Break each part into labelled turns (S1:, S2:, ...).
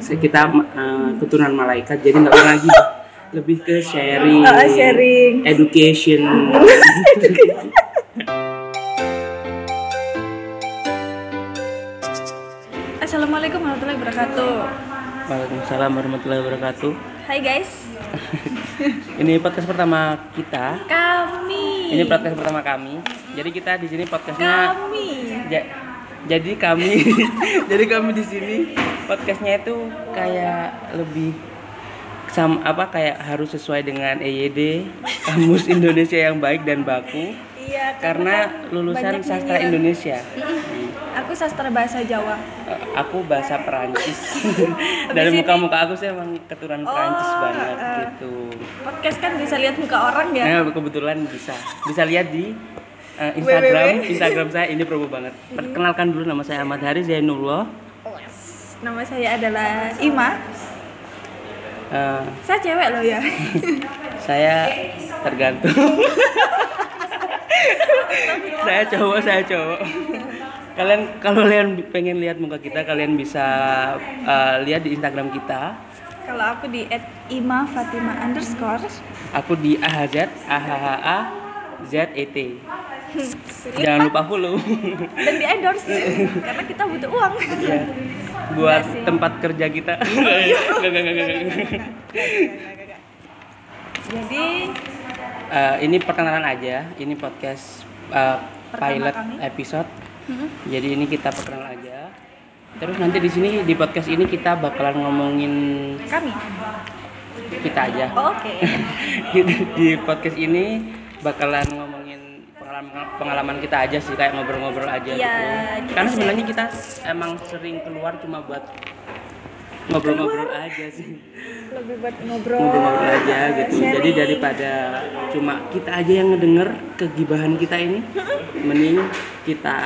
S1: Se- kita eh, keturunan malaikat jadi nggak pernah lagi lebih ke sharing,
S2: Ah, sharing.
S1: education
S2: Assalamualaikum warahmatullahi wabarakatuh.
S1: Waalaikumsalam warahmatullahi wabarakatuh
S2: Hai guys,
S1: ini podcast pertama kita
S2: kami.
S1: ini podcast pertama kami jadi kita di sini podcastnya
S2: kami.
S1: ja- jadi kami jadi kami di sini podcastnya itu kayak lebih sama apa kayak harus sesuai dengan EYD kamus Indonesia yang baik dan baku
S2: Iya,
S1: karena
S2: kan
S1: lulusan
S2: banyak
S1: sastra
S2: nyanyian.
S1: Indonesia Hmm.
S2: Mm-mm. Aku sastra bahasa Jawa.
S1: Eh, aku bahasa Perancis dari
S2: ini-
S1: muka-muka aku sih emang keturunan
S2: Oh,
S1: Perancis banget
S2: eh.
S1: gitu
S2: Podcast kan bisa lihat muka orang ya.
S1: nah kebetulan bisa bisa lihat di eh, Instagram
S2: www.
S1: Instagram saya ini promo banget perkenalkan dulu nama saya Ahmad Haris Zainullah
S2: Nama saya adalah Ima.
S1: Eh,
S2: Saya cewek loh ya.
S1: saya tergantung saya cowok saya cowok kalian kalau kalian pengen lihat muka kita kalian bisa eh, lihat di Instagram kita
S2: Kalau aku di @ima fatima underscore.
S1: Aku di AHZ, AHHA, ZET. E Jangan lupa follow.
S2: dan di endorse karena kita butuh uang
S1: ya. Buat
S2: Enggak sih. Oh, iya.
S1: tempat kerja kita. Enggak, enggak, enggak, enggak, enggak.
S2: jadi
S1: Eh, ini perkenalan aja. Ini podcast eh,
S2: Pertama
S1: pilot
S2: kami. Mm-hmm.
S1: episode.
S2: Mm-mm.
S1: Jadi ini kita perkenalan aja. Terus nanti di sini di podcast ini kita bakalan ngomongin
S2: kami
S1: kita aja.
S2: Oh, oke
S1: di, Gitu, di podcast ini bakalan ngomongin pengalaman pengalaman kita aja sih kayak ngobrol-ngobrol aja
S2: Iya,
S1: gitu.
S2: gitu
S1: Karena
S2: sih.
S1: sebenarnya kita emang sering keluar cuma buat ngobrol-ngobrol aja sih.
S2: lebih buat ngobrol
S1: Ngobrol-ngobrol aja gitu. Jadi
S2: sharing.
S1: daripada cuma kita aja yang ngedenger kegibahan kita ini mending kita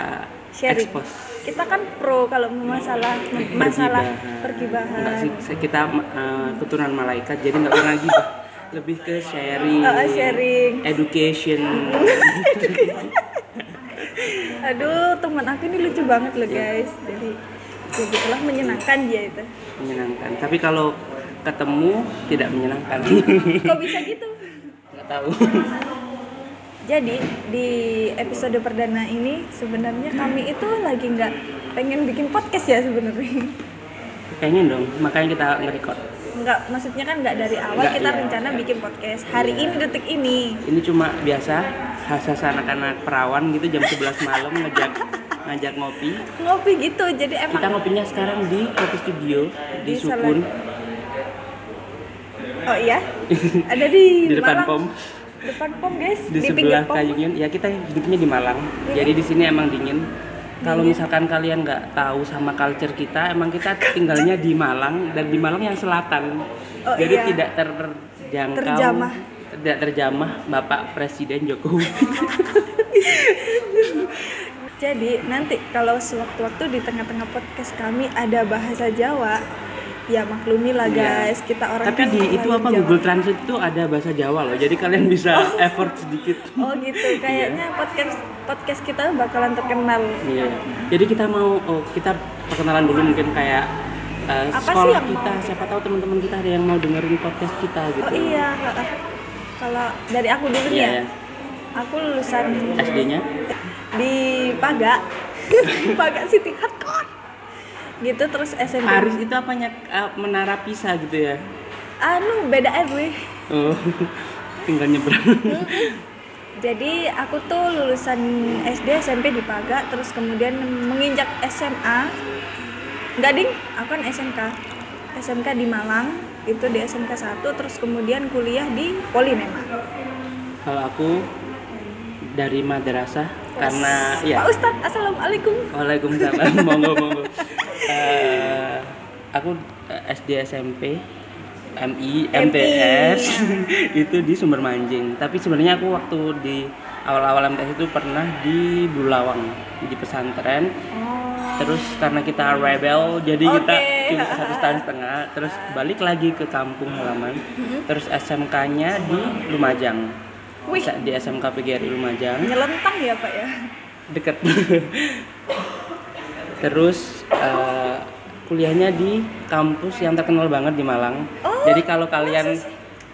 S2: Sharing.
S1: expose
S2: kita kan pro kalau masalah masalah pergibahan
S1: Enggak sih, se- kita eh, keturunan malaikat jadi nggak pernah gibah. Lebih ke sharing.
S2: Ah, ah, sharing.
S1: Education.
S2: aduh teman aku ini lucu banget
S1: Iya.
S2: loh guys jadi jadi telah menyenangkan dia itu
S1: menyenangkan. Tapi kalau ketemu tidak menyenangkan.
S2: kok bisa gitu
S1: Nggak tahu.
S2: jadi di episode perdana ini sebenarnya kami itu lagi nggak pengen bikin podcast ya sebenarnya
S1: Pengen dong, makanya kita nge-record.
S2: nggak maksudnya kan nggak dari awal
S1: Nggak,
S2: kita
S1: iya,
S2: rencana bikin podcast hari ini detik ini
S1: Ini cuma biasa khas anak-anak perawan gitu jam 11 malam ngajak ngajak ngopi.
S2: ngopi gitu jadi
S1: Kita
S2: emang
S1: ngopinya sekarang di Kopi Studio di,
S2: Di
S1: Sukun
S2: oh iya ada di,
S1: di depan
S2: Malang.
S1: pom
S2: depan pom guys
S1: di,
S2: pinggir
S1: sebelah
S2: pom
S1: Kayu Union. Ya kita hidupnya di Malang.
S2: Iya.
S1: Jadi di sini emang dingin. Kalau misalkan kalian nggak tahu sama culture kita, emang kita tinggalnya di Malang dan di Malang yang selatan.
S2: Oh,
S1: Jadi
S2: iya.
S1: tidak terjangkau.
S2: Terjamah.
S1: Tidak terjamah Bapak Presiden Jokowi.
S2: jadi nanti kalau sewaktu-waktu di tengah-tengah podcast kami ada bahasa Jawa ya maklumi lah
S1: Iya.
S2: guys kita orang
S1: Tapi
S2: kan
S1: di itu
S2: orang
S1: apa
S2: Jawa.
S1: Google Translate itu ada bahasa Jawa loh. Jadi kalian bisa effort sedikit.
S2: oh gitu kayaknya podcast podcast kita bakalan terkenal
S1: Iya. Jadi kita mau oh, kita perkenalan dulu mungkin kayak eh,
S2: Apa sih
S1: sekolah
S2: yang mau
S1: kita.
S2: kita-
S1: Siapa tahu teman-teman kita ada yang mau dengerin podcast kita gitu.
S2: oh iya heeh. kalau dari aku dulu nih
S1: Iya,
S2: ya
S1: iya.
S2: aku lulusan
S1: SD-nya.
S2: di Paga Paga City Hardcore gitu terus SMP
S1: Paris itu apanya eh, menara Pisa gitu ya?
S2: anu beda RW
S1: Oh, tinggal nyebrang.
S2: jadi aku tuh lulusan SD SMP di Paga terus kemudian menginjak SMA enggak ding aku kan SMK SMK di Malang itu di SMK 1 terus kemudian kuliah di Polinema
S1: Kalau aku dari madrasah karena ya.
S2: Pak Ustadz Assalamualaikum
S1: Waalaikumsalam. monggo monggo. Eh, aku eh, SD SMP MI MTS itu di Sumber Manjing. Tapi sebenarnya aku waktu di awal-awal MTS itu pernah di Bulawang di pesantren. Terus karena kita rebel, jadi kita
S2: Oke. Nah.
S1: cuma satu tahun setengah. Terus balik lagi ke kampung halaman.
S2: Mm-hmm.
S1: Terus SMK-nya di Lumajang.
S2: wih
S1: Di SMK PGRI Lumajang
S2: nyelentang ya Pak ya
S1: deket terus eh, kuliahnya di kampus yang terkenal banget di Malang.
S2: Oh,
S1: Jadi kalau kalian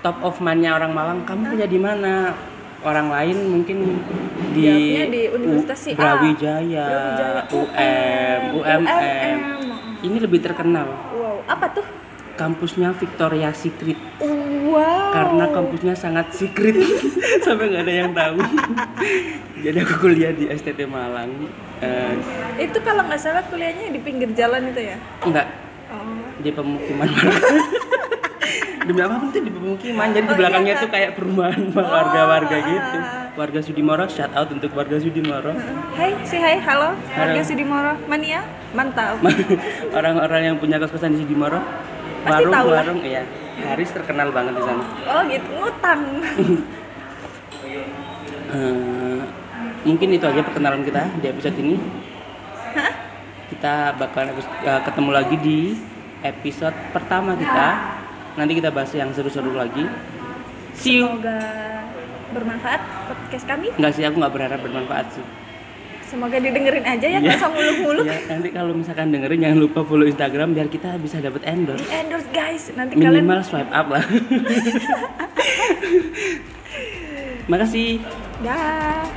S1: top of mind-nya orang Malang, kamu kuliah di mana? Orang lain mungkin di,
S2: Jawabnya di Universitas si A.
S1: Brawijaya,
S2: Brawijaya,
S1: UM, UMM.
S2: UMM.
S1: Ini lebih terkenal.
S2: Wow, apa tuh?
S1: Kampusnya Victoria Secret
S2: Wow.
S1: karena kampusnya sangat secret sampai nggak ada yang tahu. Jadi aku kuliah di STT Malang. Eh,
S2: itu kalau nggak salah kuliahnya di pinggir jalan itu ya?
S1: enggak
S2: Oh.
S1: di pemukiman demi apa pun tuh di pemukiman jadi di
S2: Oh,
S1: belakangnya
S2: iya, Oh, ah,
S1: tuh kayak perumahan warga-warga gitu warga Sudimoro shout out untuk warga Sudimoro
S2: Hai, si hai, halo. Warga
S1: Halo.
S2: Sudimoro, mania, mantap.
S1: orang-orang yang punya kos-kosan di Sudimoro
S2: Pasti
S1: warung
S2: tahu lah.
S1: warung iya Haris terkenal banget di sana
S2: Oh gitu, ngutang.
S1: Eh, mungkin itu aja perkenalan kita di episode ini kita bakalan habis- eh, ketemu lagi di episode pertama kita nanti kita bahas yang seru-seru lagi see you
S2: Semoga bermanfaat podcast kami.
S1: nggak sih aku nggak berharap bermanfaat sih
S2: Semoga didengerin aja
S1: Iya.
S2: ya, nggak usah muluk-muluk.
S1: Iya, nanti kalau misalkan dengerin jangan lupa follow Instagram biar kita bisa dapat
S2: Di
S1: endorse.
S2: endorse guys, nanti
S1: Minimal swipe up lah. Makasih.
S2: kalian dah.